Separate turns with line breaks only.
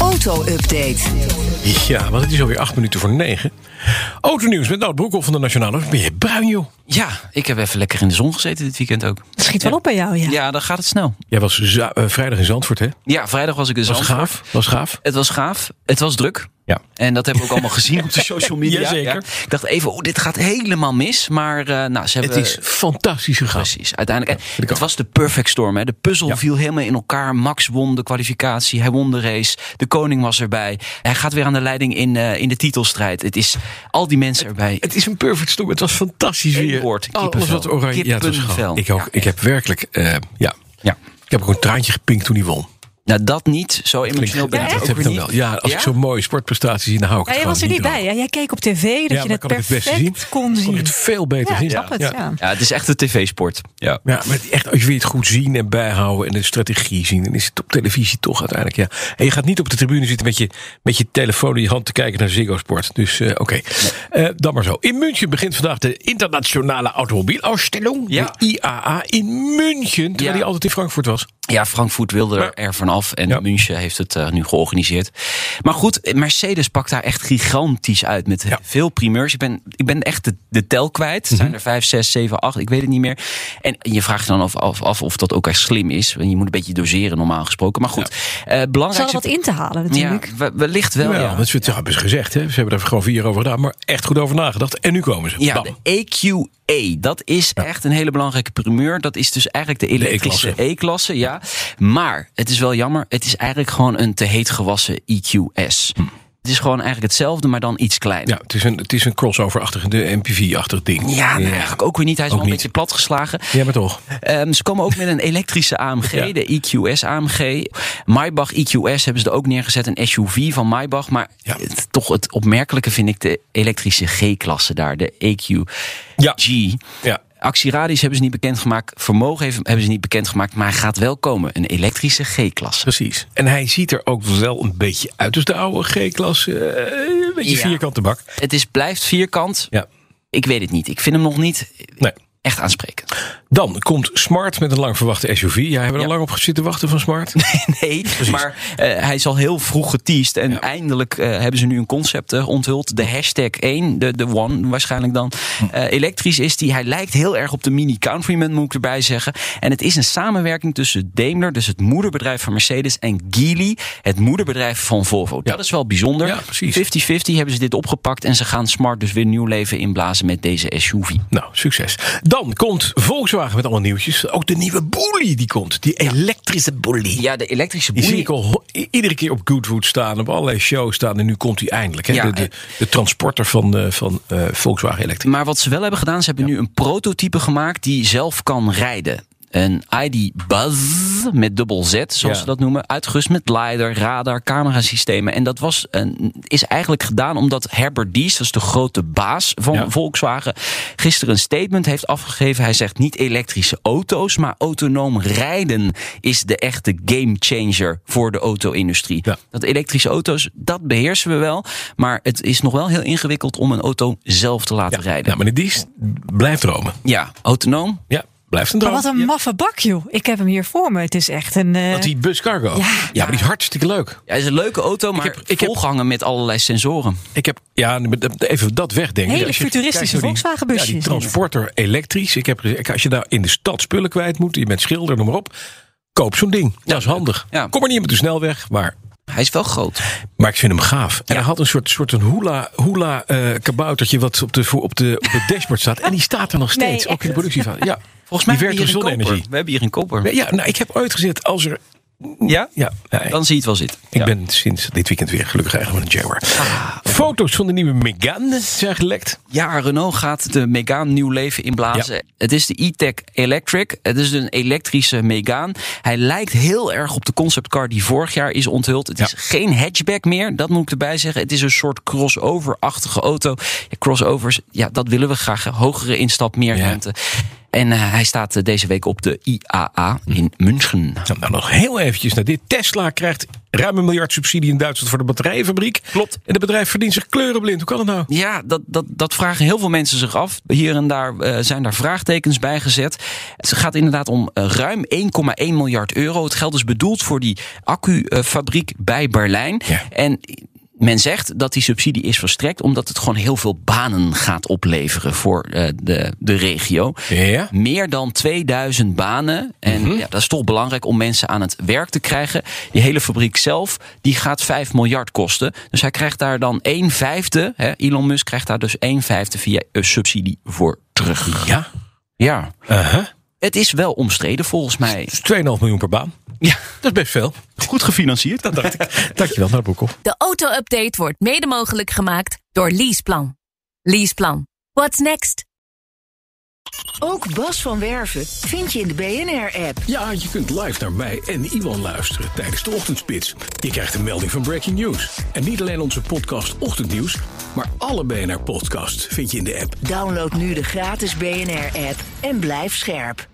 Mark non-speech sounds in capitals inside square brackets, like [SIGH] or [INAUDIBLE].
Auto-update.
Ja, want het is alweer acht minuten voor negen. Autonieuws met Nout Broekhoff van de Nationale. Ben je bruin, joh?
Ja, ik heb even lekker in de zon gezeten dit weekend ook.
Het schiet wel
Ja.
op bij jou, ja.
Ja, dan gaat het snel.
Jij was za- eh, vrijdag in Zandvoort, hè?
Ja, vrijdag was ik in
Was
Zandvoort.
gaaf. Was gaaf.
Het was gaaf. Het was druk.
Ja.
En dat hebben we ook allemaal
[LAUGHS]
gezien op de social media.
Jazeker.
Ik dacht even, oh, dit gaat helemaal mis. Maar eh, nou, ze
Het
hebben...
is fantastisch gegaan.
Precies, uiteindelijk. En
ik
het
ook.
was de perfect storm. Hè. De puzzel viel helemaal in elkaar. Max won de kwalificatie. Hij won de race. De koning was erbij. Hij gaat weer aan de leiding in, eh, in de titelstrijd. Het is al die mensen erbij.
Het is een perfect storm. Het was fantastisch
Eén
weer.
woord,
Alles
kippenvel.
wat oranje. Ja, het was
Kippenvel.
gaaf. Ik, ook,
Ja,
ik heb werkelijk... eh, ja.
Ja.
Ik heb ook een traantje gepinkt toen hij won.
Nou, dat niet. Zo emotioneel ben ik
dat
ook
heb ik
weer
dan
niet.
wel. Ja, als
Ja?
ik zo'n mooie sportprestatie zie, dan hou ik
Ja,
het
jij
gewoon
was er niet bij.
droog.
Hè? Jij keek op tv dat
Ja,
je
maar
het
kan ik het
perfect
beste zien?
kon
Kon
zien.
ik het veel beter
ja, ik
zien.
snap het, ja.
Ja, het is echt een tv-sport. Ja.
Ja, maar het- echt, als je weer het goed zien en bijhouden en de strategie zien, dan is het op televisie toch uiteindelijk. Ja. En je gaat niet op de tribune zitten met je, met je telefoon in je hand te kijken naar Ziggo Sport. Dus eh, oké, Eh, dan maar zo. In München begint vandaag de internationale automobielausstelling,
Ja.
de IAA, in München, terwijl
Ja.
die altijd in Frankfurt was.
Ja, Frankfurt wilde
Maar-
er er vanaf en
Ja.
München heeft het eh, nu georganiseerd. Maar goed, Mercedes pakt daar echt gigantisch uit met
Ja. Mhm.
veel primeurs. Ik ben, ik ben echt de, de tel kwijt. Het Zijn er vijf, zes, zeven, acht? Ik weet het niet meer. En je vraagt je dan af, af, af of dat ook echt slim is. Want je moet een beetje doseren normaal gesproken. Maar goed, eh
Ze hadden
belangrijk...
wat in te halen
ja,
natuurlijk.
we- wellicht wel,
ja,
ja.
Nou, dat is wat- ja, hebben ze gezegd. Hè. Ze hebben er gewoon vier over gedaan, maar echt goed over nagedacht. En nu komen ze.
Ja,
Bam.
de EQE. Dat is echt een hele belangrijke primeur. Dat is dus eigenlijk de elektrische
E-klasse.
E-klasse. ja. Maar het is wel jammer. Het is eigenlijk gewoon een te heet gewassen EQS. Het is gewoon eigenlijk hetzelfde, maar dan iets kleiner.
Hm. Ja, het is een, het is een crossover-achtig, de MPV-achtig ding.
Ja, nou, eigenlijk ook weer niet. Hij is
Ook
wel een
niet.
beetje platgeslagen.
Ja, maar toch.
Ehm, ze komen ook met een
[LAUGHS]
elektrische AMG,
Ja.
de E EQS AMG. Maybach EQS hebben ze er ook neergezet, een SUV van Maybach. Maar
Ja.
het- toch het opmerkelijke vind ik de elektrische G-klasse daar, de E EQG.
Ja. Ja.
Actieradius hebben ze niet bekendgemaakt. Vermogen heeft- hebben ze niet bekendgemaakt. Maar hij gaat wel komen. Een elektrische G-klasse.
Precies. En hij ziet er ook wel een beetje uit als de oude G-klasse. eh, Een beetje
Ja.
vierkante bak.
Het is, blijft vierkant.
Ja.
Ik weet het niet. Ik vind hem nog niet
Nee.
echt aansprekend.
Dan komt Smart met een lang verwachte SUV. Ja, hebben we er
Ja.
lang op zitten wachten van Smart?
Nee, maar eh, hij is al heel vroeg geteased. En eindelijk eh, hebben ze nu een concept eh, onthuld. De hashtag 1, de, de one waarschijnlijk dan.
Hm.
Eh, elektrisch is die. Hij lijkt heel erg op de Mini Countryman, moet ik erbij zeggen. En het is een samenwerking tussen Daimler, dus het moederbedrijf van Mercedes, en Geely, het moederbedrijf van Volvo. Dat is wel bijzonder.
Ja, precies.
50-50 hebben ze dit opgepakt. En ze gaan Smart dus weer nieuw leven inblazen met deze SUV.
[LAUGHS] Nou, succes. Dan komt Volkswagen met allemaal nieuwtjes. Ook de nieuwe Bully die komt. Die elektrische Bully.
Ja, de elektrische
Die zie
boei-
ik al ho- i- iedere keer op Goodwood staan, op allerlei shows staan. En nu komt hij eindelijk. Hè?
Ja, eh.
de, de, de transporter van, eh, van eh, Volkswagen Electric.
Maar wat ze wel hebben gedaan, ze hebben nu een prototype gemaakt die zelf kan rijden. Een ID Buzz met dubbel Z, zoals
Ja.
ze dat noemen. Uitgerust met LiDAR, radar, camerasystemen. En dat was een, is eigenlijk gedaan omdat Herbert Dies, dat is de grote baas van
Ja.
Volkswagen, gisteren een statement heeft afgegeven. Hij zegt niet elektrische auto's, maar autonoom rijden is de echte gamechanger voor de auto-industrie.
Ja.
Dat elektrische auto's, dat beheersen we wel. Maar het is nog wel heel ingewikkeld om een auto zelf te laten
ja,
rijden.
nou, meneer Dies, blijf dromen.
Ja, autonoom.
Ja, blijf een
Maar
droom.
wat een maffe bak, joh. Ik heb hem hier voor me. Het is echt een... eh,
Dat die bus cargo.
Ja.
ja, maar die is hartstikke leuk.
Ja, het is een leuke auto, maar
heb- ik heb-
volgehangen met allerlei sensoren.
Ik heb, ja, even dat wegdenken.
Hele
Als je
futuristische
kijkt naar die-
Volkswagenbusjes.
Ja, die transporter elektrisch. Ik heb gezegd, als je daar in de stad spullen kwijt moet, je met schilder, noem maar op. Koop zo'n ding. dat is handig.
Ja.
Kom er niet met de snelweg, maar,
Hij is wel groot.
maar ik vind hem gaaf. En hij had een soort, soort een hula, hula eh, kaboutertje wat op de, voor- op, de, op het dashboard staat. En die staat er nog
Nee,
steeds, ook in de
echt.
productie van. Ja,
Volgens
die
mij hebben
werkt
we
op
hier een
zonne-energie.
koper. We hebben hier een koper.
Ja, nou, ik heb ooit gezegd, als er...
Ja?
Ja, nou, nee.
Dan zie je het wel zitten.
Ik
Ja.
ben sinds dit weekend weer gelukkig eigenlijk met een Jaguar. Foto's van de nieuwe Megane zijn gelekt.
Ja, Renault gaat de Megane nieuw leven inblazen.
Ja.
Het is de e-tech Electric. Het is een elektrische Megane. Hij lijkt heel erg op de conceptcar die vorig jaar is onthuld. Het
Ja.
is geen hatchback meer, dat moet ik erbij zeggen. Het is een soort crossover-achtige auto. Ja, crossovers, ja, dat willen we graag. hè. Hogere instap, meer
Ja.
ruimte. En eh, hij staat eh, deze week op de IAA in
Mhm.
München.
Dan, dan nou, nog heel eventjes naar dit. Tesla krijgt ruim een miljard subsidie in Duitsland voor de batterijenfabriek.
Klopt.
En het bedrijf verdient zich kleurenblind. Hoe kan dat nou?
Ja, dat, dat, dat vragen heel veel mensen zich af. Hier en daar eh, zijn daar vraagtekens bij gezet. Het gaat inderdaad om eh, ruim 1,1 miljard euro. Het geld is bedoeld voor die accufabriek bij Berlijn.
Ja.
En men zegt dat die subsidie is verstrekt omdat het gewoon heel veel banen gaat opleveren voor eh, de, de regio.
Ja.
Meer dan 2000 banen. En ja, dat is toch belangrijk om mensen aan het werk te krijgen. Die hele fabriek zelf, die gaat 5 miljard kosten. Dus hij krijgt daar dan 1 vijfde. Hè, Elon Musk krijgt daar dus 1 vijfde via eh, subsidie voor terug.
Ja.
Ja,
Uh-huh.
het is wel omstreden volgens mij.
Dus 2,5 miljoen per baan.
Ja.
Dat is best veel.
Goed gefinancierd.
Dat dacht ik. [LAUGHS] Dankjewel, naar Broekhoff.
De auto-update wordt mede mogelijk gemaakt door Leaseplan. Leaseplan. What's next?
Ook Bas van Werven vind je in de BNR-app.
Ja, je kunt live naar mij en Iwan luisteren tijdens de ochtendspits. Je krijgt een melding van Breaking News. En niet alleen onze podcast Ochtendnieuws, maar alle BNR-podcasts vind je in de app.
Download nu de gratis BNR-app en blijf scherp.